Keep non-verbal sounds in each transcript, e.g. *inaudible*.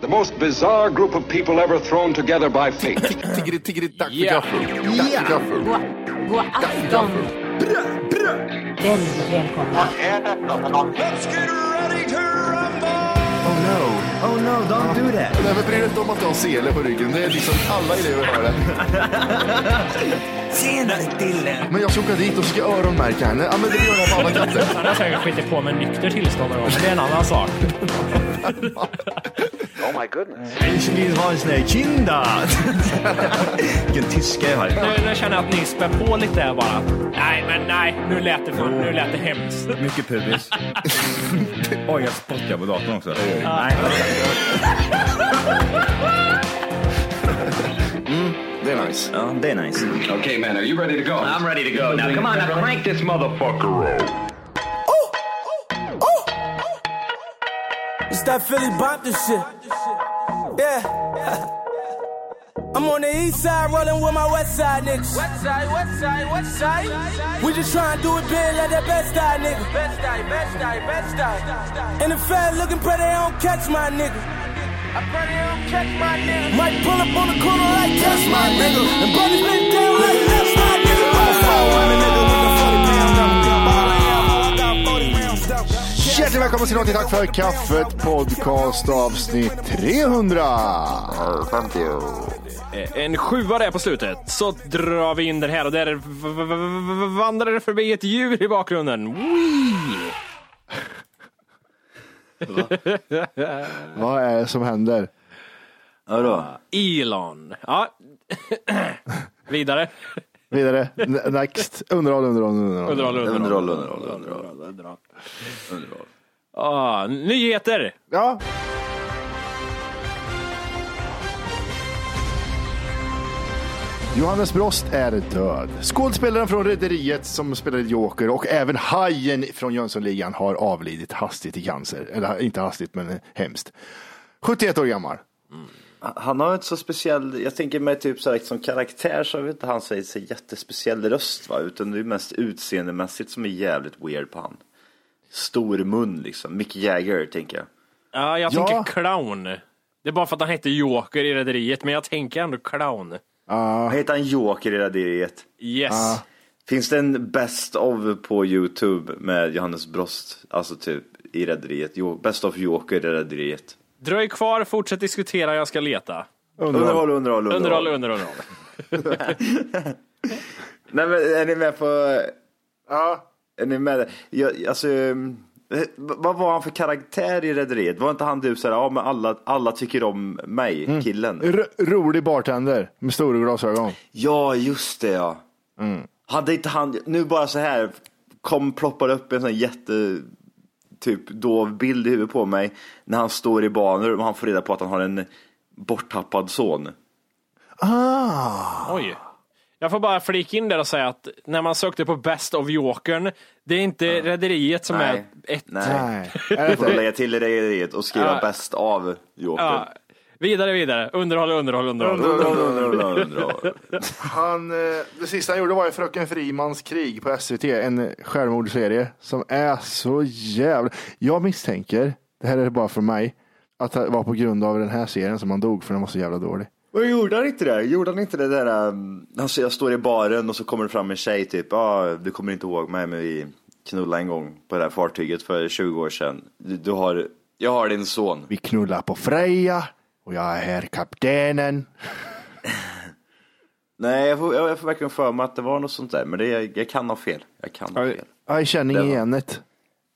The most bizarre group of people ever thrown together by fate. *laughs* Tiggeri, tiggeri, tack för gaffel. Tack för gaffel. God afton! Väldigt välkomna. Oh no, oh no, don't do that. Nej, men bry dig inte om att du har sele på ryggen. Det är liksom alla elever har det. Senare Dille. Men jag ska åka dit och ska öronmärka henne. Ja, men det gör jag på alla katter. Han har säkert skitit på med nykter tillstånd någon gång, men det är en annan sak. Ich vill ha en sån här kinda. Vilken tyska jag har. Nu, nu känner jag att ni spär på lite här bara. Nej, men nej, nu lät det, för, nu lät det hemskt. Mycket pubis. Oj, jag spottar på datorn också. Nej, Det är nice. ja, det är nice. okay, man, are you ready to go? I'm ready to go. Now, come on, now crank this motherfucker up. It's that Philly Bompton shit. Yeah. *laughs* I'm on the east side rolling with my west side niggas. West side, west side, west side. We just tryna do it big like that best side nigga. Best side, best side, best side. And the fed looking pretty, they don't catch my nigga. I pray they don't catch my nigga. Might pull up on the corner like catch my nigga. And buddy been down like that's my nigga. Hjärtligt välkommen till någonting. Tack för kaffet. Podcast avsnitt 300. Eh, En sjua där på slutet, så drar vi in den här och där v- v- v- vandrar det förbi ett djur i bakgrunden. Wee! Vad är det som händer? Vadå? Elon. Ja. *clears throat* Vidare. Vidare. N- Next. Underhåll, underhåll, underhåll. Underhåll, underhåll. Underhåll, underhåll, underhåll. underhåll. Ah, nyheter! Ja. Johannes Brost är död. Skådespelaren från Rederiet som spelade Joker och även Hajen från Jönssonligan har avlidit hastigt i cancer. Eller inte hastigt, men hemskt. 71 år gammal. Han har ju inte så speciell, jag tänker mig typ så här, som karaktär så har väl inte han så här så jättespeciell röst va, utan det är mest utseendemässigt som är jävligt weird på han. Stor mun liksom, Mick Jagger tänker jag. Ja, jag Ja. tänker clown. Det är bara för att han hette Joker i Rederiet, men jag tänker ändå clown. Heter han Joker i Raderiet? Yes. Finns det en Best of på Youtube med Johannes Brost, alltså typ i Rederiet? Jo, Best of Joker i Rederiet. Dröj kvar, fortsätt diskutera, jag ska leta. Underhåll, underhåll, Underhåll, underhåll. underhåll. underhåll. Nej men är ni med på... Ja. Är ni med? Jag, alltså, ehm, eh, vad var han för karaktär i Rederiet? Var inte han typ såhär, ja men alla, alla tycker om mig, killen? R- rolig bartender med stora glasögon. Ja, just det ja. Hade inte han, nu bara så här, kom ploppar upp en sån jätte, typ dov bild i huvudet på mig. När han står i banor och han får reda på att han har en borttappad son. Ah. Oj. Jag får bara flika in där och säga att när man sökte på Best of Jokern, det är inte Rederiet som Nej. är ett. Nej. Nej. Är det Jag får inte? lägga till Rederiet och skriva Ja. bäst av Joker. Ja. Vidare, vidare. Underhåll, underhåll, underhåll. Han, eh, det sista han gjorde var ju Fröken Frimans krig på SVT, en självmordsserie som är så jävla... Jag misstänker, det här är bara för mig, att det var på grund av den här serien som han dog, för den var så jävla dålig. Vad gjorde han inte det? Gjorde han inte det där, um, alltså jag står i baren och så kommer det fram en tjej typ, ah, du kommer inte ihåg mig men vi, knulla en gång på det här fartyget för 20 år sedan. Du, du har, jag har din son. Vi knullar på Freja och jag är här kaptenen. Nej, jag får, jag, jag får verkligen för mig att det var något sånt där, men det, jag, jag kan ha fel. Jag kan ha fel. Jag känner Det var- igen det.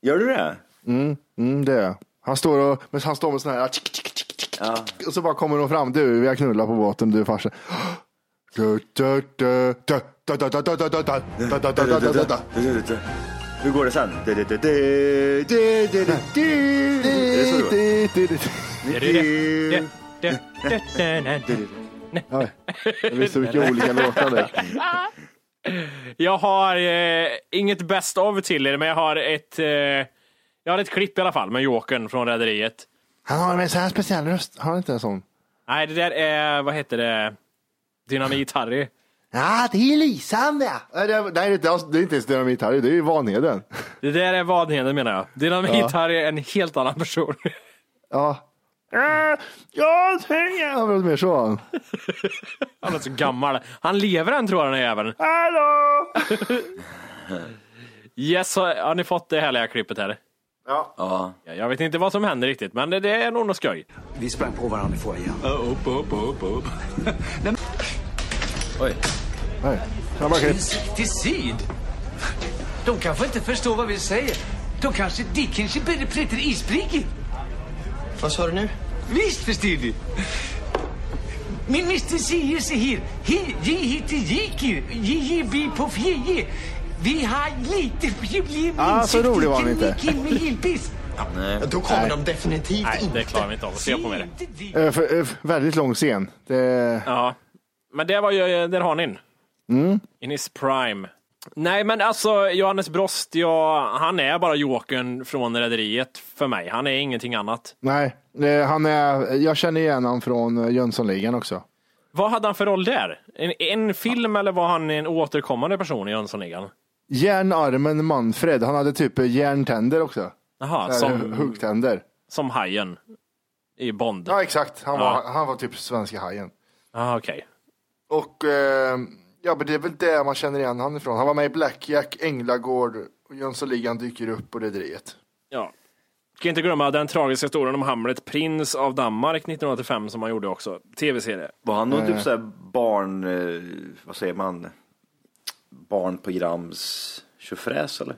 Gör du det? Mm, mm, det är jag. Han står, och, men han står med sån här tick, tick, tick, tick, tick, tick, och så bara kommer de fram. Du, vi har knullat på båten, du farsan. Du, du, du, du, du, du, du, du, du, du, du, du, du, du, du, du, du. Hur går det sen? Du, du, du, du, du, du, du, du. Är det så det var? Oj, Jag visste vilka *laughs* olika låtar det är. Jag har eh, inget best of till er, men jag har ett eh, Jag har ett klipp i alla fall med Jokern från Rederiet. Han har en sån här speciell röst. Har han inte en sån? Nej, det där är, vad heter det, Dynamit-Harry. Ja, det är lysande. Nej, det är, nej, det är det är inte ens dynamit här. Det är ju Vanheden. Det där är Vanheden menar jag. Dynamit-Harry är en helt annan person. *laughs* Ja. Äh, Jag tänker... Han var mer så. han. Han är så gammal. Han lever än tror jag den här jäveln. Hallå! *laughs* Yes, har, har ni fått det härliga klippet här? Ja. Ja, Jag vet inte vad som händer riktigt, men det, det är nog något skoj. Vi sprang på varandra i foajén. Upp, upp, upp, upp. Oj. Nej. Han bara, Till sid. De kanske inte förstår vad vi säger. De kanske, de kanske blir pritter isprickigt. Vad sa du nu? Visst förstår du. Min Mr. säger så här. He- Ge hit till jikir. Ge ge bi på fjeje. Vi har lite problem med Ah, så rolig var han inte. Kan ni hjälpas? Nej. Då kommer de definitivt Nej, det klarar vi inte av att se på med det. eh, för, eh, för- väldigt lång scen. Det, Ja, men det var ju, eh, där har ni den. In his prime. Nej, men alltså Johannes Brost, ja, han är bara Jokern från Rederiet för mig. Han är ingenting annat. nej, eh, han är, jag känner igen honom från eh, Jönssonligan också. Vad hade han för roll där? En, en film eller var han en återkommande person i Jönssonligan? Järnarmen Manfred, han hade typ eh, järntänder också. Jaha, Så här, som, Huggtänder. som hajen i Bond. Ja, exakt. Han, Ja. Var, han var typ svenska hajen. Ah, okej. Och eh, ja, men det är väl det man känner igen honom ifrån. Han var med i Blackjack, Änglagård och Jönssonligan dyker upp och Rederiet. Ja. Ska inte glömma den tragiska historien om Hamlet, prins av Danmark 1985 som han gjorde också. Tv-serie. Var han någon typ såhär barn, eh, vad säger man, barnprograms tjofräs eller?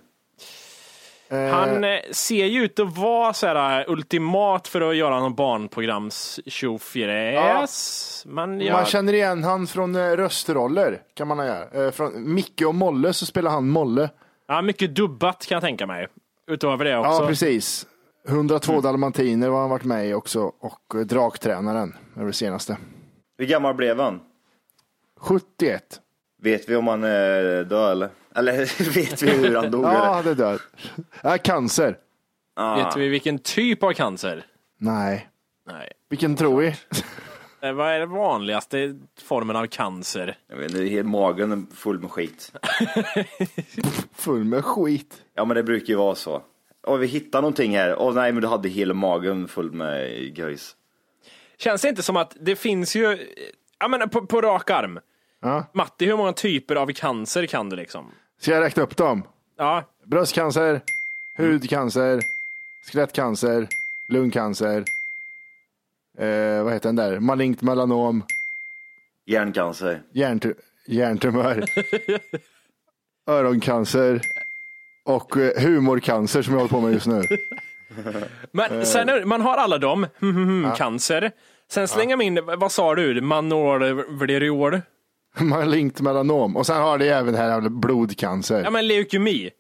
Han eh, ser ju ut att vara så här eh, ultimat för att göra någon barnprograms tjofräs. Men jag... Man känner igen han från eh, röstroller, kan man göra. Eh, från Micke och Molle så spelar han Molle. ja, mycket dubbat kan jag tänka mig. Utöver det också. Ja, precis. 102 dalmatiner har han varit med i också och eh, Draktränaren är det senaste. Hur gammal blev han? 71. Vet vi om han är död eller? *laughs* Eller vet vi hur han dog Ja, eller? han är död. Äh, cancer. Vet vi vilken typ av cancer? Nej. Nej. Vilken tror vi? Eh, Vad är den vanligaste formen av cancer? Jag vet inte, hela magen är full med skit. *laughs* Full med skit. Ja men det brukar ju vara så. Åh vi hittar någonting här. Åh nej men du hade hela magen full med göjs. Känns det inte som att det finns ju, eh, ja men på, på rak arm. Ja. Matti, hur många typer av cancer kan du liksom? Ska jag räkna upp dem? Ja, Bröstcancer, hudcancer, skelettcancer, lungcancer. Eh, vad heter den där? Malignt melanom, Hjärncancer. hjärntu- *laughs* hjärntumör, öroncancer och eh, humorcancer som jag håller på med just *laughs* nu. Men sen, är- man har alla dem, *laughs* hmm, hmm, hmm, cancer. Sen slänger man in, vad sa du, manorvleriol? Malignt melanom. Och sen har det även här jävla blodcancer. Ja men leukemi.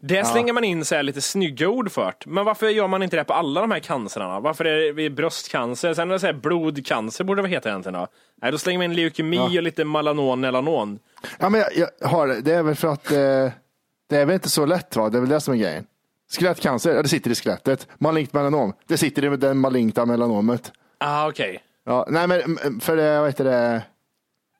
Det slänger man in så här lite snygga ord för. Men varför gör man inte det på alla de här cancerna? Varför är det bröstcancer? Sen är det så här blodcancer borde det heta egentligen då? Nej, då slänger man in leukemi och lite melanon, melanon. Ja, men jag, jag har det. Det är väl för att eh, det är väl inte så lätt va? Det är väl det som är grejen. Skelettcancer, ja, det sitter i skelettet. Malignt melanom, det sitter i det maligna melanomet. Ah, okej. Ja, nej men m- för det, vad heter det?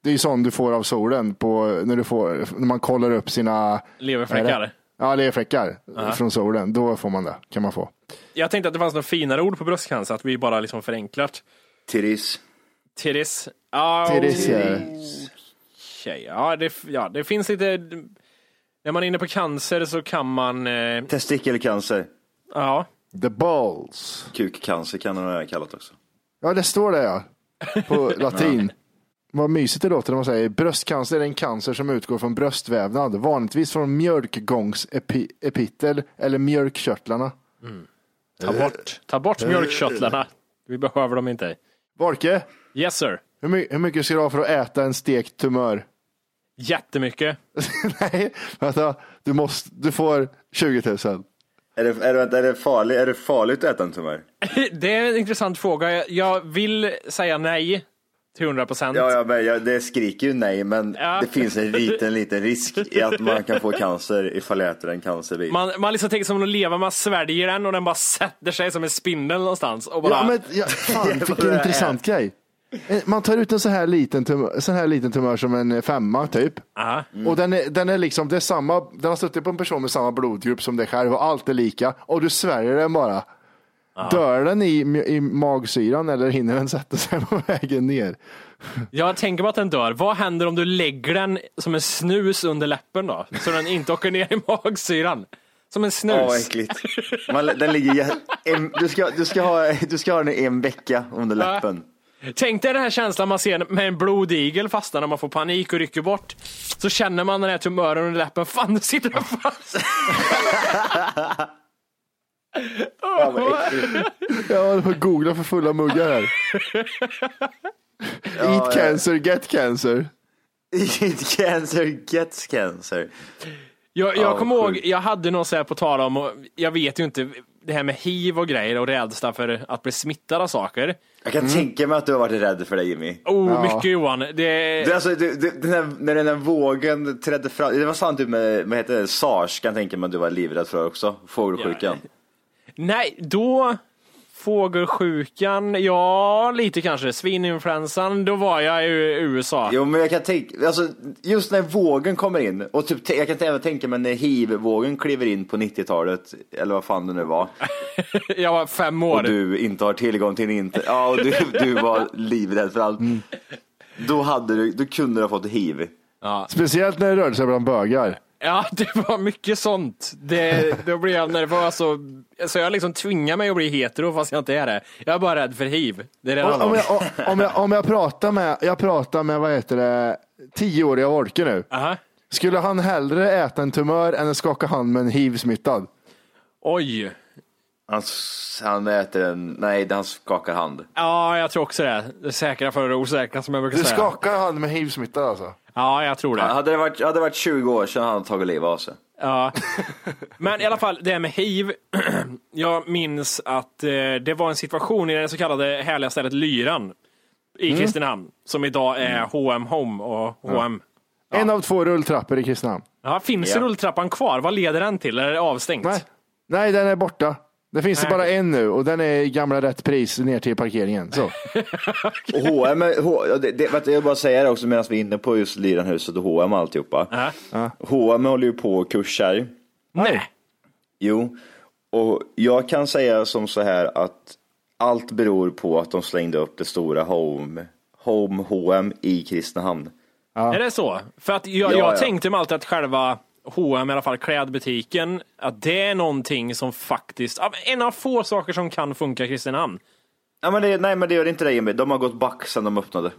Det är ju sån du får av solen på, när, du får, när man kollar upp sina Leverfläckar. Är det? Ja, leverfläckar från solen. Då får man det, kan man få. Jag tänkte att det fanns något finare ord på bröstcancer, att vi bara liksom förenklat. Tiris. Teres. Ah, Teres, ja. Okej, ja, det, ja, det finns lite När man är inne på cancer så kan man... Eh, Testikelcancer. Ja. The balls. Kukcancer kan det vara kallat också. Ja, det står det *laughs* ja. På latin. Vad mysigt det låter när man säger bröstcancer är en cancer som utgår från bröstvävnad, vanligtvis från mjölkgångsepitel eller mjölkkörtlarna. ta bort, Eh. ta bort mjölkkörtlarna. Vi behöver dem inte. Borke, Yes sir. hur, my- hur mycket ska du ha för att äta en stekt tumör? Jättemycket. *laughs* Nej, vänta, du, måste, du får 20 000. Är det, är, det, vänta, är, det farligt, är det farligt att äta en tumör? *laughs* Det är en intressant fråga. Jag- Jag vill säga nej till 100 procent. Ja, ja men jag, det skriker ju nej, men Ja. det finns en liten, liten risk i att man kan få cancer ifall jag äter en cancerbit. Man, man liksom tänker som att leva, man sväljer den och den bara sätter sig som en spindel någonstans. Och bara, Ja, men ja, fan, vilken Bara- intressant grej. Eh, Man tar ut en sån här liten tumör, sån här liten tumör som en femma typ. Aha. Mm. Och den är, den är liksom, det är samma, den har suttit på en person med samma blodgrupp som dig själv och allt är lika. Och du sväljer den bara. Dör den i, i magsyran eller hinner den sätta sig på *laughs* vägen ner? Jag tänker mig att den dör. Vad händer om du lägger den som en snus under läppen då? Så den inte åker ner i magsyran. Som en snus. Ja, vad äckligt. Man, den ligger, jä- en, du, ska, du, ska ha, du ska ha den i en vecka under läppen. Tänk dig den här känslan man ser med en blodigel fastnar när man får panik och rycker bort. Så känner man den här tumören under läppen. Fan, nu sitter den fast. Jag håller på att googla för fulla muggar *laughs* här. Eat cancer, get cancer. Eat cancer gets cancer. Jag, jag Ja, kommer ihåg, sjukt. jag hade någon så här på tal om, och jag vet ju inte, det här med hiv och grejer och rädsla för att bli smittad av saker. Jag Mm. kan tänka mig att du har varit rädd för det Jimmy. Oh, Ja. mycket Johan. Det, Det, är alltså, det, det, den här, när den här vågen trädde fram, det var sant typ med vad heter det, sars kan jag tänka mig att du var livrädd för också, fågelsjukan. Nej, då fågelsjukan, ja lite kanske, svininfluensan, då var jag ju i USA. Jo men jag kan tänka, alltså, just när vågen kommer in, och typ, jag kan även tänka mig när hiv-vågen kliver in på 90-talet, eller vad fan det nu *laughs* var, Jag var fem och år. du inte har tillgång till internet, ja och *laughs* du, du var livrädd för allt. Då, hade du, då kunde du ha fått hiv. Speciellt när det rörde sig bland bögar. Ja, *laughs* det var mycket sånt. Det, då blev jag nervös och, så jag liksom tvingar mig att bli hetero fast jag inte är det. Jag är bara rädd för hiv. Det är det Om, handlar om, om. jag, om, jag, om jag pratar med, jag pratar med vad heter det, tioåriga Wolke nu. Aha. Skulle han hellre äta en tumör än att skaka hand med en hiv-smittad? Oj. Han, s- han äter en, nej han skakar hand. Ja, jag tror också det. Det säkra före det osäkra som jag brukar Du säga. skakar hand med hiv-smittad alltså? Ja, jag tror det. Hade det varit, hade det varit 20 år sedan hade han tagit livet av sig. Ja. Men i alla fall, det här med hiv. *clears throat* Jag minns att eh, det var en situation i det så kallade härliga stället Lyran i Kristinehamn, som idag är H&M Home och H&M. En av två rulltrappor i Kristinehamn. Ja, finns Ja. rulltrappan kvar? Vad leder den till? Eller är det avstängt? Nej. Nej, den är borta. Det finns Nej. det bara en nu och den är i gamla rätt pris ner till parkeringen. Så. Och H&M, är- H, ja, det, det, vänta, jag vill bara säga det också medan vi är inne på just Liranhuset och H&M och alltihopa. Ja. H&M håller ju på och kursar. Nej. Jo, och jag kan säga som så här att allt beror på att de slängde upp det stora Home, Home H&M i Kristinehamn. Är det så? För att jag, Ja, jag ja. tänkte mig alltid att själva H&M i alla fall klädbutiken, att det är någonting som faktiskt, ja, men en av få saker som kan funka i Kristinehamn. Ja, men det, nej men det gör inte det Jimmy, de har gått back sedan de öppnade.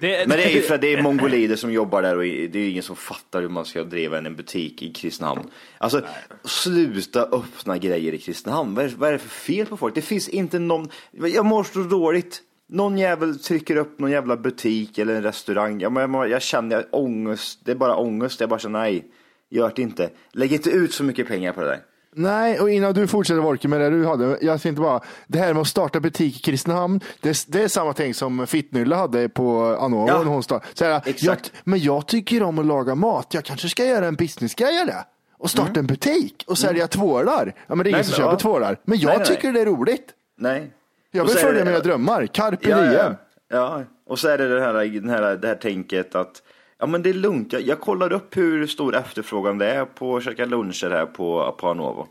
Det, Men det är ju för *laughs* att det är mongolider som jobbar där och det är ju ingen som fattar hur man ska driva en butik i Kristinehamn. Alltså, sluta öppna grejer i Kristinehamn. Vad är, vad är det för fel på folk? Det finns inte någon, jag mår så dåligt. Någon jävel trycker upp någon jävla butik eller en restaurang. Jag, jag, jag känner ångest, det är bara ångest. Jag bara känner nej, gör det inte. Lägg inte ut så mycket pengar på det där. Nej, och innan du fortsätter Wolke med det du hade. Jag tänkte bara, det här med att starta butik i Kristinehamn. Det, det är samma tänk som Fittnylle hade på Anova. Ja. när hon start, så här, jag, Exakt. men jag tycker om att laga mat. Jag kanske ska göra en businessgrej av det. Och starta en butik och sälja tvålar. Ja, men det är ingen Mm. Nej, som men- köper ja. tvålar. Men jag Nej, nej, tycker nej. det är roligt. Nej. Jag Och vill så är följa det- mina drömmar. Carpe Ja, diem. ja, ja, och så är det det här, den här, det här tänket att ja, men det är lugnt. Jag, jag kollar upp hur stor efterfrågan det är på att käka luncher här på, på Anovo.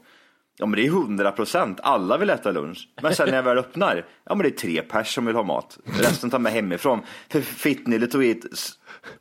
Ja men det är 100 procent, alla vill äta lunch. Men sen när jag väl öppnar, ja men det är tre pers som vill ha mat. Resten tar med hemifrån. För Fittnille tog hit s-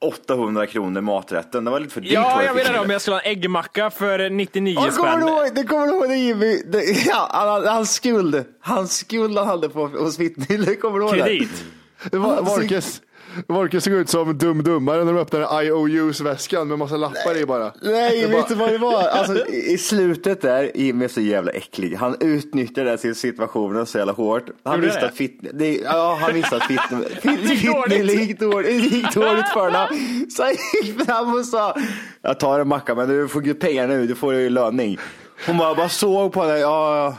800 kronor maträtten, det var lite för dyrt. var Ja, det, jag menar Fittnille. det, om jag skulle ha en äggmacka för 99 Ja, kommer spänn. du Ja, ihåg- det kommer du ihåg när Jimmy, det, ja, han, hans skuld, hans skuld han hade på, hos Fittnille, kommer du ihåg Kredit. det? Va- Vorkes, Vorkes såg ut som dum-dummare när de öppnade IOUs-väskan med massa lappar i bara. Nej, Det vet du vad det var? Alltså, i i slutet där, Jimmy är så jävla äcklig. Han utnyttjade sin situationen så jävla hårt. Han Gjorde visste det? att fit, det, ja, han visste att fit, fit, Det gick fit, dåligt. det gick dåligt, det gick dåligt för honom. Så han gick fram och sa, jag tar en macka men du får ju pengar nu, du får ju löning. Hon bara, bara såg på henne, ja, ja.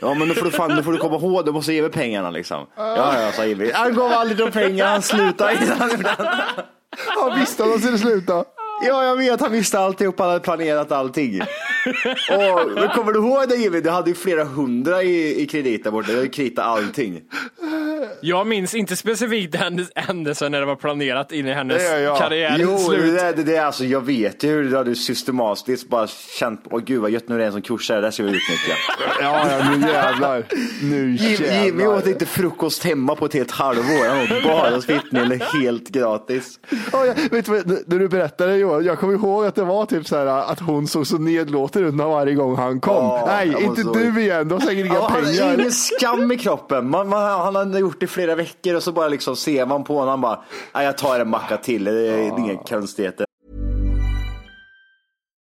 Ja men nu får du fan, nu får du komma ihåg, du måste ge mig pengarna liksom. Ja ja, sa Jimmy. Han gav aldrig de pengar, han slutade innan. Han visste att han skulle sluta. Ja, jag vet. Han visste alltihop. Han hade planerat allting. Och, men kommer du ihåg det Jimmy? Du hade ju flera hundra i, i kredit där borta. Du hade kritat allting. Jag minns inte specifikt den händelsen när det var planerat in i hennes Det gör jag. karriär. Jo, det, slut. där- det, det, alltså, jag vet ju hur du hade systematiskt bara känt, åh gud vad gött nu är det en som kursar, det där ska vi utnyttja. Ja, ja, nu jävlar. Nu *laughs* Jim- Jimmy åt jävlar. inte frukost hemma på ett helt halvår. Han åt bara Spitnille helt gratis. Ja, jag, vet du, vad- när du berättade Johan, jag kommer ihåg att det var typ så här att hon såg så nedlåten ut när varje gång han kom. Ja, jag Nej, var inte så- du igen. Du har säkert inga Ja, han har pengar. ingen skam i kroppen. Man, man, han har gjort det i flera veckor och så bara liksom ser man på honom. Han bara, "Nej, jag tar en macka till. Det är inga konstigheter.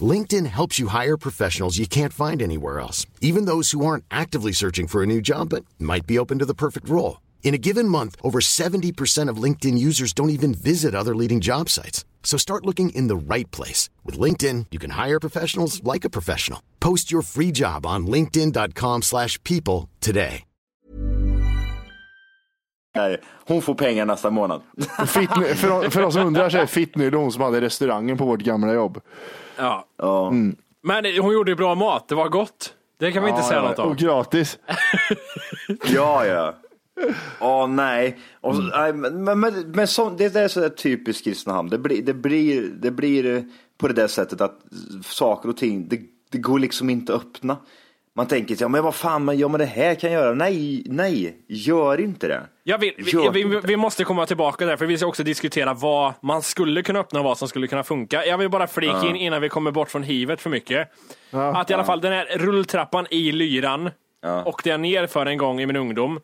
LinkedIn helps you hire professionals you can't find anywhere else, even those who aren't actively searching for a new job but might be open to the perfect role. In a given month, over 70% of LinkedIn users don't even visit other leading job sites. So start looking in the right place. With LinkedIn, you can hire professionals like a professional. Post your free job on linkedin.com/people slash people today. Nej, Hon får pengar nästa månad. Fittny, för, för oss som undrar så är Fittny hon som hade restaurangen på vårt gamla jobb. Ja. Ja. Men hon gjorde ju bra mat, det var gott. Det kan vi inte säga något om. Och gratis. Ja, ja. Åh nej. Och så, nej, men men, men, men så, det där är sådär typiskt Kristinehamn. Det blir, det, blir, det blir eh, på det där sättet att saker och ting, det, det går liksom inte att öppna. Man tänker sig, ja men vad fan, men, ja, men det här kan jag göra. Nej, nej, gör inte det. Jag vill, vi, Gör vi, inte. vi måste komma tillbaka där, för vi ska också diskutera vad man skulle kunna öppna och vad som skulle kunna funka. Jag vill bara flika in innan vi kommer bort från hivet för mycket. att i alla fall den här rulltrappan i lyran åkte jag ner för en gång i min ungdom.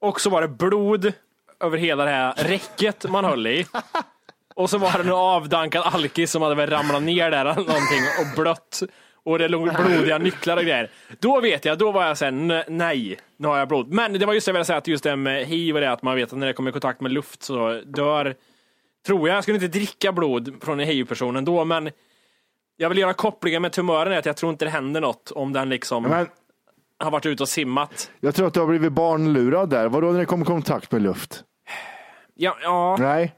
Och så var det blod över hela det här räcket man höll i. Och så var det en avdankad alkis som hade väl ramlat ner där eller någonting och blött. Och det låg blodiga nycklar och grejer. Då vet jag, då var jag såhär, "N- nej, nu har jag blod. Men det var just det jag ville säga, att just det med hiv och det att man vet att när det kommer i kontakt med luft så dör, tror jag, jag skulle inte dricka blod från en hiv-person ändå, men jag vill göra kopplingen med tumören, är att jag tror inte det händer något om den liksom Men har varit ute och simmat. jag tror att du har blivit barnlurad där. Vadå när det kom i kontakt med luft? Ja, ja Nej.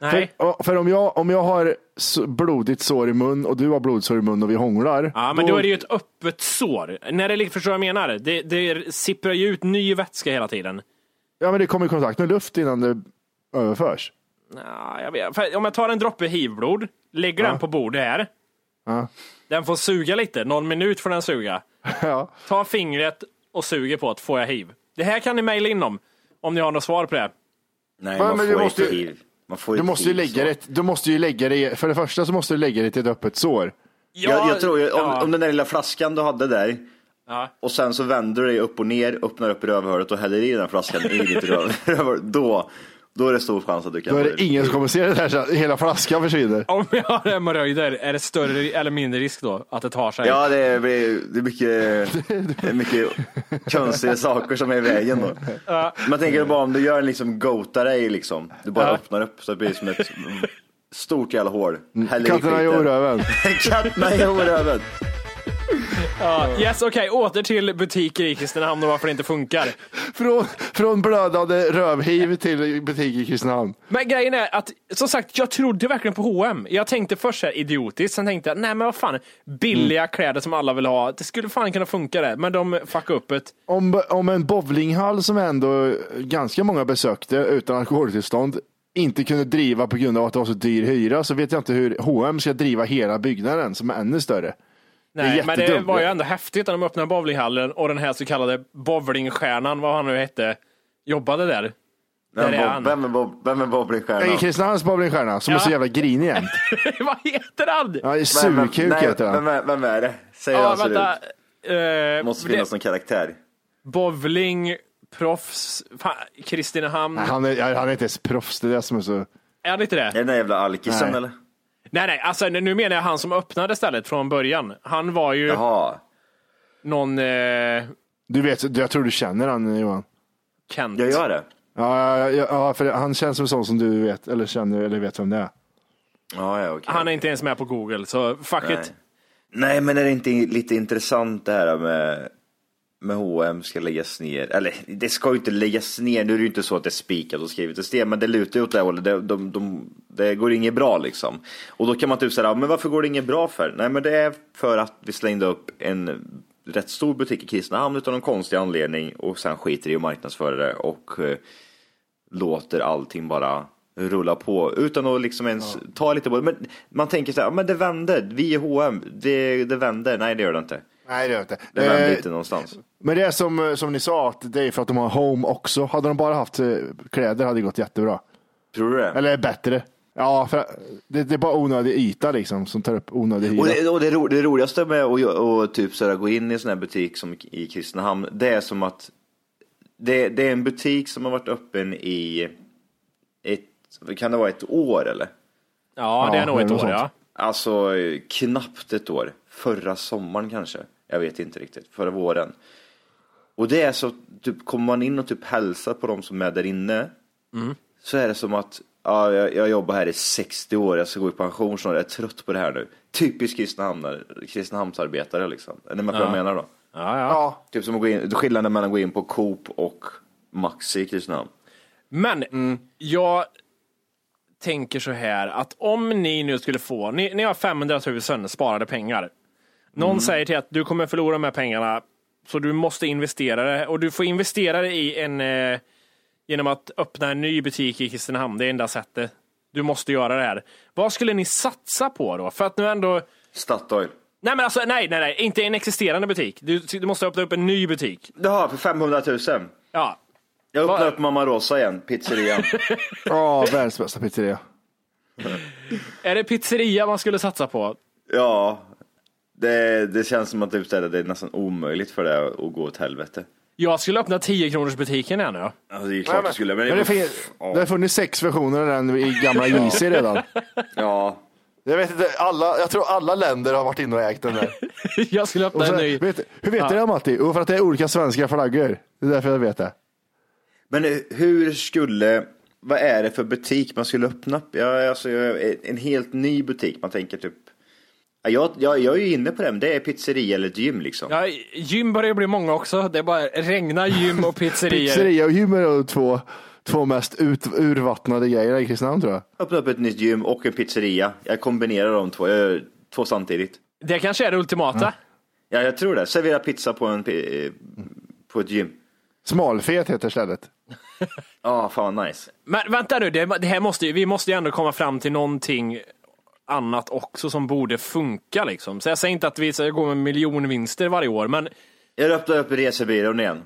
nej. För, för om, jag, om jag har s- blodigt sår i mun och du har blodsår i mun och vi hånglar. Ja, men då, är det ju ett öppet sår. När det, ligger- förstår du vad jag menar? Det, det sipprar ju ut ny vätska hela tiden. ja, men det kommer i kontakt med luft innan det överförs. Ja, jag vet. För om jag tar en droppe hivblod, lägger den på bordet här. Ja. Den får suga lite, någon minut får den suga. *laughs* Ja. Ta fingret och suger på det, får jag hiv. Det här kan ni mejla in om, om ni har något svar på det. Nej, Men- man, men du får måste- inte hiv. Man får Du inte måste ju hiv, lägga så. det, du måste ju lägga det, för det första så måste du lägga det till ett öppet sår. Jag, jag tror ju, om, ja. om den där lilla flaskan du hade där Ja. och sen så vänder du dig upp och ner, öppnar upp rövhålet och häller i den flaskan i ditt röv, *laughs* rövhål, då, Då är det stor chans att du kan Då är få det ingen som kommer se det här. så att Hela flaskan försvinner. Om jag har hemorrojder, är det större eller mindre risk då att det tar sig? Ja, det blir det är mycket, det är mycket konstiga saker som är i vägen då. Men jag tänker bara om du gör en liksom gotarrej liksom. Du bara Ja. öppnar upp så det blir som ett stort jävla hål. Häller i Katterna i skiten. oröven. *laughs* Katterna i oröven. Ja, yes, okej, åter till butiker i Kristinehamn och varför det inte funkar. Från, från blödande rövhiv till butik i Kristinehamn. Men grejen är att, som sagt, jag trodde verkligen på H&M. Jag tänkte först så här idiotiskt, sen tänkte jag, nej men vad fan, billiga kläder som alla vill ha, det skulle fan kunna funka det, men de fuckade upp det. Om, om en bowlinghall som ändå ganska många besökte utan alkoholtillstånd inte kunde driva på grund av att det var så dyr hyra så vet jag inte hur H&M ska driva hela byggnaden som är ännu större. Det är Nej, men det jättedumt. var ju ändå häftigt när de öppnade bowlinghallen och den här så kallade bowlingstjärnan, vad han nu hette, jobbade där. *laughs* Vem, Där är han. vem, vem, är Bob- vem är bowlingstjärnan? Nej, Kristinehamns bowlingstjärna som är så Ja. jävla grinig jämt. vad heter han? Ja, Surkuk nej, heter han. Vem är, vem är det? Säg hur Ja, han ser vänta. ut. Eh, Det måste det- finnas någon karaktär. Bowling, proffs, fan, Kristinehamn. Nej, Han är, ja, han är inte ens proffs, det är det som är så... Är han inte det? Är det den där jävla alkisen Nej. eller? Nej, nej, alltså nu nu menar jag han som öppnade stället från början. Han var ju Jaha. någon eh, Du vet, jag tror du känner han Johan. Kent. Jag gör det. Ja, ja, ja, ja, för han känns som en sån som du vet, eller känner, eller vet vem det är. Ja, ja, okej. Han är inte ens med på Google, så fuck Nej. it. Nej, men är det inte lite intressant det här med, med H&M ska läggas ner? Eller det ska ju inte läggas ner, nu är det ju inte så att det är spikat och skrivet i sten, men det lutar ju åt det här hållet. Det, de, de, det går inget bra liksom. Och då kan man typ säga, "Ja, men varför går det inget bra för? Nej, men det är för att vi slängde upp en rätt stor butik i Kristinehamn utan någon konstig anledning och sen skiter i att marknadsföra det och eh, låter allting bara rulla på utan att liksom ens ta lite på det. Men man tänker så här, "Ja, men det vänder, vi är H&M, det, det vänder. Nej det gör det inte. Nej, det gör inte. Det vänder Eh, inte någonstans. Men det är som, eh, som ni sa, att det är för att de har home också. Hade de bara haft eh, kläder hade det gått jättebra. Tror du det? Eller bättre. Ja, för det, det är bara onödig yta liksom som tar upp onödig hyra. Och det, och det, ro, det roligaste med att gö- och typ så här, gå in i en sån här butik som i Kristinehamn, det är som att det, det är en butik som har varit öppen i ett, kan det vara ett år eller? Ja, det är nog ett år, ja. Alltså eh, knappt ett år. Förra sommaren kanske. Jag vet inte riktigt. Förra våren. Och det är så, typ, kommer man in och typ hälsar på de som är där inne Mm. så är det som att ja, jag, jag jobbar här i 60 år, jag ska gå i pension snart, jag är trött på det här nu. Typisk Kristinehamnare- Kristinehamnsarbetare liksom. Är ni med på vad Ja. jag menar då? Ja, ja. Typ som att gå in, skillnaden mellan att gå in på Coop och Maxi i Kristinehamn. Men Mm. jag tänker så här att om ni nu skulle få, ni, ni har 500 000 sparade pengar. Någon Mm. säger till er att du kommer förlora de här pengarna så du måste investera det och du får investera det i en eh, genom att öppna en ny butik i Kristinehamn. Det är enda sättet. Du måste göra det här. Vad skulle ni satsa på då? För att nu ändå Statoil. Nej, men alltså, nej, nej, nej, inte en existerande butik. Du, du måste öppna upp en ny butik. Jaha, för 500 000. Ja, Jag öppnar upp Mamma Rosa igen, *laughs* pizzerian. Ja, världens bästa pizzeria. är det pizzeria man skulle satsa på? Ja, det, det känns som att typ, så här, det är nästan omöjligt för det att gå åt helvete. Jag skulle öppna 10 kronors butiken här nu. Alltså, det är klart du skulle, men, Men det, fin- det har funnits sex versioner av den i gamla JC redan. Ja, Jag vet inte, alla, jag tror alla länder har varit inne och ägt den där. *laughs* Jag skulle öppna Och så, en ny. vet, hur vet Ja. du det Matti? Jo, för att det är olika svenska flaggor. Det är därför jag vet det. men hur skulle, vad är det för butik man skulle öppna upp? Ja, alltså, jag- en helt ny butik, man tänker typ, ja, jag, jag, jag är ju inne på det, men det är pizzeria eller ett gym liksom. Ja, gym börjar bli många också. Det bara regna gym och pizzerior. Pizzeria och gym är de två, två mest ut, urvattnade grejerna i Kristinehamn tror jag. Öppna upp ett nytt gym och en pizzeria. Jag kombinerar de två, jag gör två samtidigt. Det kanske är det ultimata. Ja, jag tror det. Servera pizza på, en, pi- eh, på ett gym. Smalfet heter stället. Ja, fan vad nice. Men vänta nu, det, det här måste, ju- vi måste ju ändå komma fram till någonting annat också som borde funka. Liksom. Så jag säger inte att vi ska gå med miljonvinster varje år, men Jag öppnar upp resebyrån igen.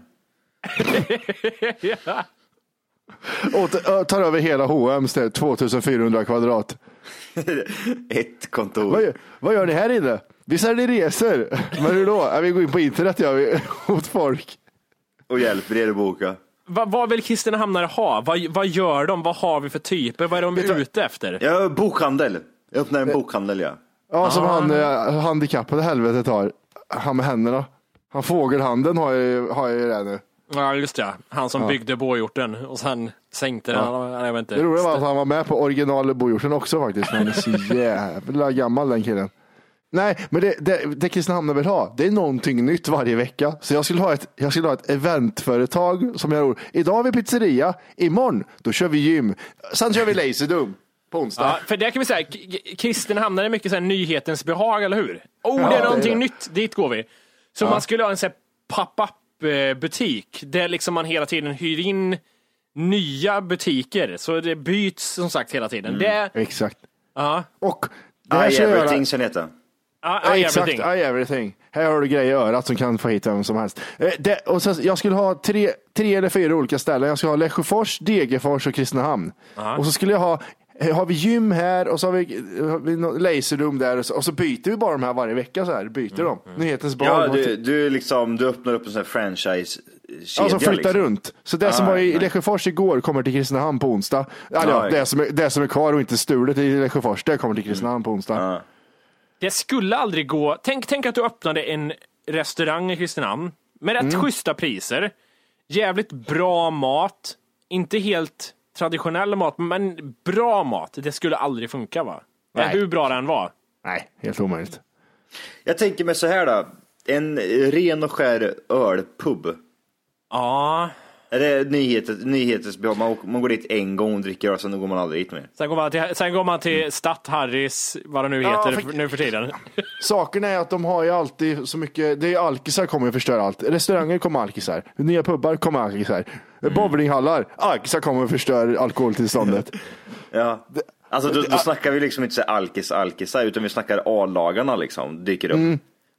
Och t- ö, tar över hela H&M ställ, 2400 kvadrat. Ett kontor. Vad gör, vad gör ni här inne? Vi säljer resor. *laughs* Men hur då? Ja, vi går in på internet gör vi, åt folk. Och hjälper er att boka. Vad, vad vill Kristinehamnare ha? Vad, vad gör de? Vad har vi för typer? Vad är de ute efter? Ja, bokhandel. Jag öppnar en bokhandel, ja. Ja, som Ah. han eh, handikappade helvetet har. Han med händerna. Han fågelhanden har jag ju, har jag ju det nu. Ja, just det. Han som Ja. byggde bågjorten och sen sänkte Ja. den. Han, jag vet inte. Det roliga var att han var med på original Bojorsen också faktiskt. Han är så jävla gammal den killen. Nej, men det, det, det Kristinehamn vill ha, det är någonting nytt varje vecka. Så jag skulle ha ett, jag skulle ha ett eventföretag som jag ror. Idag har vi pizzeria, imorgon då kör vi gym. Sen kör vi laserdum på onsdag. Ja, för det kan vi säga, K- K- Kristinehamn är mycket så här nyhetens behag, eller hur? Oh, Ja, det det är är någonting det. nytt, dit går vi. Så Ja. man skulle ha en sån här pop-up eh, butik, där liksom man hela tiden hyr in nya butiker. Så det byts som sagt hela Mm. tiden. Det, Exakt. ja. Och det här I ska jag göra- Ah, everything, känner jag inte. Ja, I Exakt, everything. I everything. Här har du grejer i örat som kan få hit vem som helst. Eh, Det, och sen, jag skulle ha tre, tre eller fyra olika ställen. Jag skulle ha Lesjöfors, Degerfors och Kristinehamn. Ja. Och så skulle jag ha, eh, har vi gym här och så har vi, eh, har vi något laserrum där och så, och så byter vi bara de här varje vecka så här. Byter de. Nyhetens barn. Mm, Ja, och du, till- du, liksom, du öppnar upp en sån här franchise-kedja. Ja, som flyttar liksom. runt. Så det som Ah, var i nej. Lesjöfors igår kommer till Kristinehamn på onsdag. Alltså, Ja, ja, det, exakt. som är, det som är kvar och inte stulet i Lesjöfors, det kommer till Kristinehamn på onsdag. Det skulle aldrig gå. Tänk, tänk att du öppnade en restaurang i Kristinehamn med rätt Mm. schyssta priser, jävligt bra mat, inte helt traditionell mat, men bra mat. Det skulle aldrig funka va? Nej. Hur bra den var. Nej, helt omöjligt. Jag tänker mig så här då. En ren och skär ölpub. Ja. Är det nyheter, nyheters behov? Man, åker- man går dit en gång och dricker öl, sen går man aldrig dit mer. Sen går man till, sen går man till Statt Harrys, vad det nu Mm. Ja, heter för- nu för tiden. Saken är att de har ju alltid så mycket, det är ju alkisar kommer ju förstöra allt. Restauranger kommer alkisar, nya pubbar kommer alkisar, Mm. bowlinghallar, alkisar kommer och förstör alkoholtillståndet. Ja. Alltså då, då snackar vi liksom inte så här alkis alkisar utan vi snackar A-lagarna liksom, dyker upp.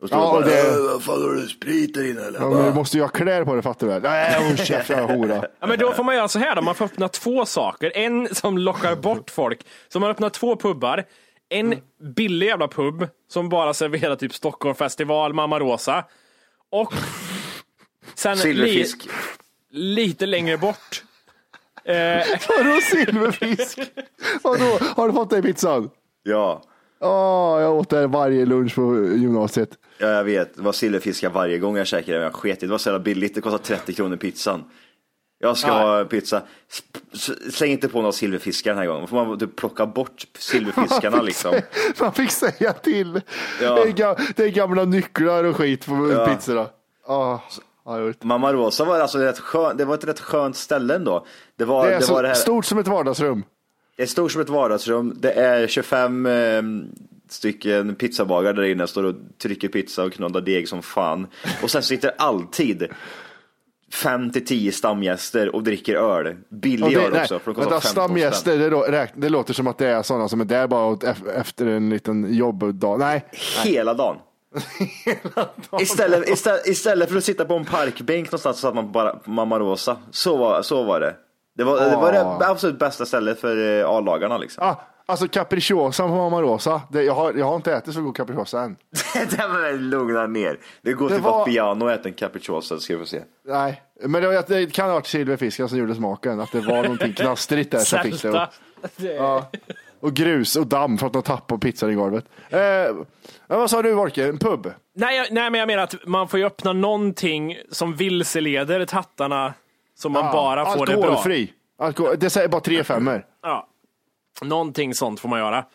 Och står Mm. Ja, bara, och det- "Äh, vad fan har du sprit där inne eller? Ja, men du måste ju ha kläder på det fattar du väl? Nej, håll käften hora. Ja, men då får man göra så här då, man får öppna två saker. En som lockar bort folk. Så man öppnar två pubbar. En Mm. billig jävla pub som bara serverar typ Stockholm festival, Mamma Rosa. Och sen li, Silverfisk. lite längre bort. *laughs* Eh, Vadå silverfisk? Vadå, har du fått det i pizzan? Ja. Åh, jag åt det varje lunch på gymnasiet. ja, jag vet. Det var silverfiskar varje gång jag käkade det, men jag sket i det. Det var så jävla billigt, det kostade 30 kronor pizzan. Jag ska Ja. ha pizza. Sp- s- Släng inte på några silverfiskar den här gången. Då får man typ plocka bort *laughs* silverfiskarna liksom. Man fick säga till. Ja. Det, är ga- det är gamla nycklar och skit på Ja. pizzorna. Åh, har jag gjort. Mamma Rosa var alltså rätt skön, det var ett rätt skönt ställe ändå. Det var Det är det, så var det här, stort som ett vardagsrum. det är stort som ett vardagsrum. Det är 25 eh, stycken pizzabagare där inne, står och trycker pizza och knådar deg som fan. Och sen sitter alltid fem till tio stamgäster och dricker öl. Ja, Billig det- öl nej, också. För de kostar Vänta, 15 spänn. stamgäster, det, lå- räk- det låter som att det är sådana som är där bara åt, ef- efter en liten jobbdag. Nej, *laughs* Hela dagen. Istället, istället, istället för att sitta på en parkbänk någonstans så satt man på bara på Mamma Rosa. Så var, så var det. Det var, det var det Ah. absolut bästa stället för eh, A-lagarna liksom. ah, alltså capricciosa på Mamma Rosa. Det, jag, har, jag har inte ätit så god capricciosa än. *laughs* det var väl lugna ner. Det går Det till var- var... piano och äter en capricciosa så ska vi få se. Nej, men det, var- det kan ha varit silverfisken som gjorde smaken. Att det var någonting knastrigt där som fick det. sälta. att- Ja. Och grus och damm för att de tappade pizzan i golvet. Eh, men vad sa du Volke, en pub? Nej, jag- nej, men jag menar att man får ju öppna någonting som vilseleder tattarna. Så man Ja, bara får det bra. Ah, Alkoholfri. Alkohol, det säger bara tre femmor. Ja. Någonting sånt får man göra.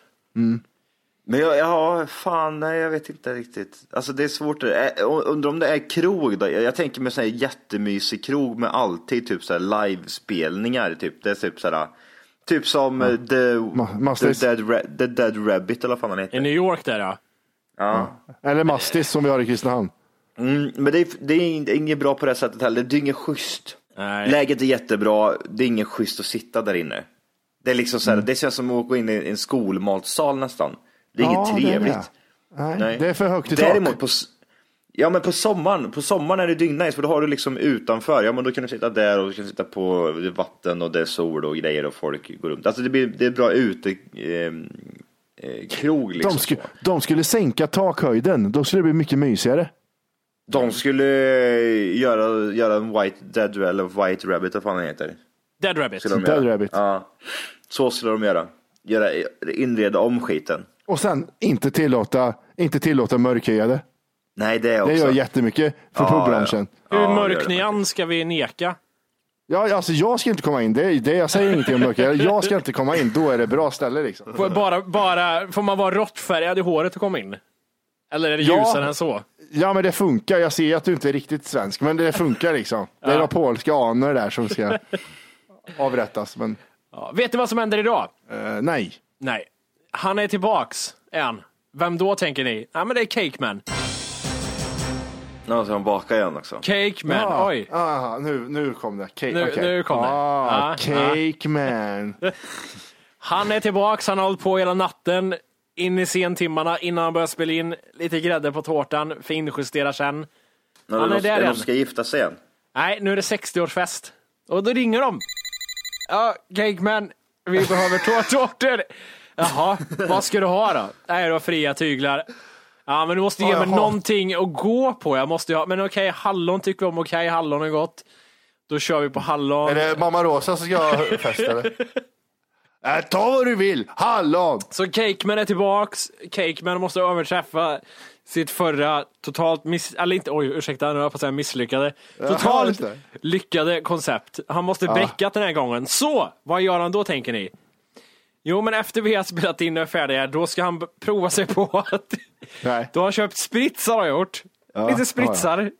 Men jag, ja, fan, nej, jag vet inte riktigt. Alltså det är svårt. det där. Eh, och- Undrar om det är krog då? Jag jag tänker mig sån här jättemysig krog med alltid typ så här livespelningar. Typ. Det är typ så här, typ som eh, the, Mastis. the, dead, Ra- the dead Rabbit eller vad fan han heter. I New York där ja. Ja. Eller mastis som vi har i Kristinehamn. Mm, men det är, det är in- inget bra på det här sättet heller. Det är inget schysst. Nej. Läget är jättebra. Det är inget schysst att sitta där inne. Det är liksom så här, det känns som att gå in i en skolmatsal nästan. Det är Ja, inget det är trevligt. det. Nej, Det är för högt i Däremot tak. på, s- ja, men på sommaren, på sommaren är det dygnnice för då har du liksom utanför, ja men då kan du sitta där och du kan sitta på det är vatten och det är sol och grejer och folk går runt. Alltså det, blir, det är bra ute, ehm, eh, krog liksom. De, sku, de skulle sänka takhöjden, då skulle det bli mycket mysigare. De skulle eh, göra, göra en White Dead Ra- eller White Rabbit, vad fan den heter. Dead Rabbit. Skulle de Dead göra. Rabbit. Ja. Så skulle de göra. göra. Inreda om skiten. Och sen inte tillåta, inte tillåta mörkhyade. Nej, det är också. Det gör jättemycket för Ja, pubbranschen. Hur mörk nyans ska vi neka? Ja, alltså jag ska inte komma in. Det, är- det jag säger ingenting om mörkhyade. Jag ska inte komma in. Då är det bra ställe liksom. Får, bara, bara, får man vara råttfärgad i håret och komma in? Eller är det Ja. ljusare än så? Ja, men det funkar. Jag ser att du inte är riktigt svensk, men det funkar liksom. Det är några polska anor där som ska avrättas. Men Ja. Vet ni vad som händer idag? eh, nej. Nej. Han är tillbaks, är han. Vem då tänker ni? Ja men det är Cakeman. Ja, så de bakar igen också. Cake man, Ja. *laughs* oj. Aha, nu, nu kom det. Cake, Nu- okej. nu kom det. Ah, Ja, cake *laughs* man. Han är tillbaks, han har hållit på hela natten. In i sentimmarna innan han börjar spela in. Lite grädde på tårtan, finjusterar sen. Ja, Han de, är de, där de igen. ska gifta sig igen. Nej, nu är det 60-årsfest. Och då ringer de. Ja, Cakeman, vi behöver två *laughs* tårtor. Jaha, vad ska du ha då? Nej, det var fria tyglar. Ja, men du måste ge Ja, mig jaha. någonting att gå på. Jag måste ju ha, men okej, hallon tycker vi om. Okej, hallon är gott. Då kör vi på hallon. Är det mamma Rosa som ska ha fest *laughs* eller? Äh, ta vad du vill, hallon! Så Cakeman är tillbaks. Cakeman måste överträffa sitt förra totalt miss... Eller inte, oj ursäkta, nu höll jag på att säga misslyckade. Ja, Totalt just det. lyckade koncept. Han måste Ja. bräcka den här gången. Så, vad gör han då tänker ni? Jo men efter vi har spelat in och är färdiga, då ska han b- prova sig på *laughs* att... Nej. Då har han köpt spritsar har jag gjort. Ja, Lite spritsar.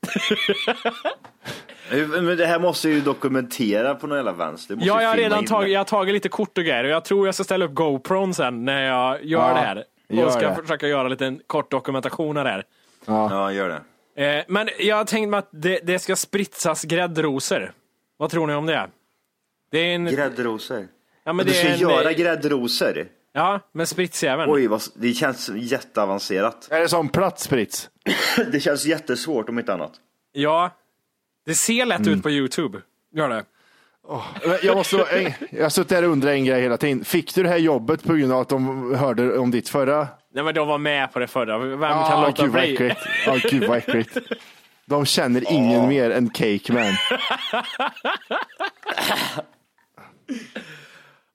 Men det här måste ju dokumentera på någon jävla vänster. Det måste Ja, ju jag har filma redan in tagit, det. jag har tagit lite kort och grejer och jag tror jag ska ställa upp GoPron sen när jag gör Ja, det här. gör Och ska det. försöka göra lite en kort dokumentation av det här. Ja. gör det. Eh, men jag tänkte mig att det, det ska spritsas gräddrosor. Vad tror ni om det? det är en... Gräddrosor? Ja, Men men du det ska är en... eh, göra gräddrosor? Ja, men spritsjäveln. Oj, vad, det känns jätteavancerat. Är det som platt sprits? det känns jättesvårt om inte annat. Ja, det ser lätt Mm. ut på Youtube. Gör det. Men Jag, måste, en- jag har suttit där och undrat en grej hela tiden. Fick du det här jobbet på grund av att de hörde om ditt förra? Nej men de var med på det förra. Vem Ah, kan låta gud vad bli? äckligt. Ah, gud vad äckligt. De känner ingen mer än Cake Man.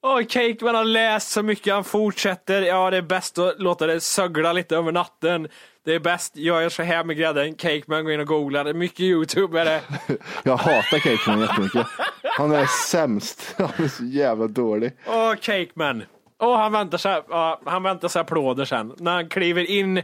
Åh, Cake, man har läst så mycket, han fortsätter. Ja, det är bäst att låta det sögla lite över natten. Det är bäst, gör jag så här med grädden. Cake, man går in och googlar. Det är mycket YouTube är det. Jag hatar Cake Man jättemycket. Han är sämst. *laughs* Han är så jävla dålig. Åh, Cakeman. Åh, han väntar sig, ja, han väntar sig applåder sen. När han kliver in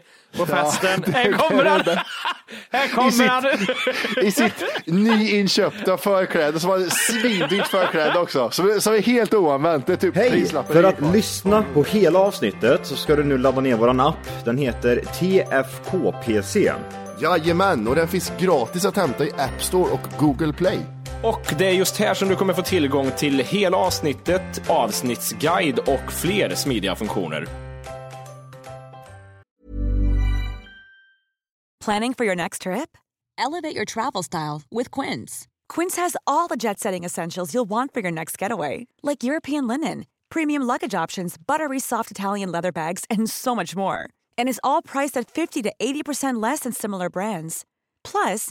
Ja, på festen. *laughs* det här är kommer han! det. *laughs* Här I kommer sitt- han! I sitt nyinköpta förkläde som var ett svindyrt förkläde också. Som, som är helt oanvänt. Det är typ Hej! prislappen. För att lyssna på hela avsnittet så ska du nu ladda ner våran app. Den heter TFKPC. Jajamän, och den finns gratis att hämta i App Store och Google Play. *laughs* Och det är just här som du kommer få tillgång till hela avsnittet, avsnittsguide och fler smidiga funktioner. Planning for your next trip? Elevate your travel style with Quince. Quince has all the jet setting essentials you'll want for your next getaway, like European linen, premium luggage options, buttery soft Italian leather bags, and so much more. And is all priced at 50 to 80% less than similar brands. Plus,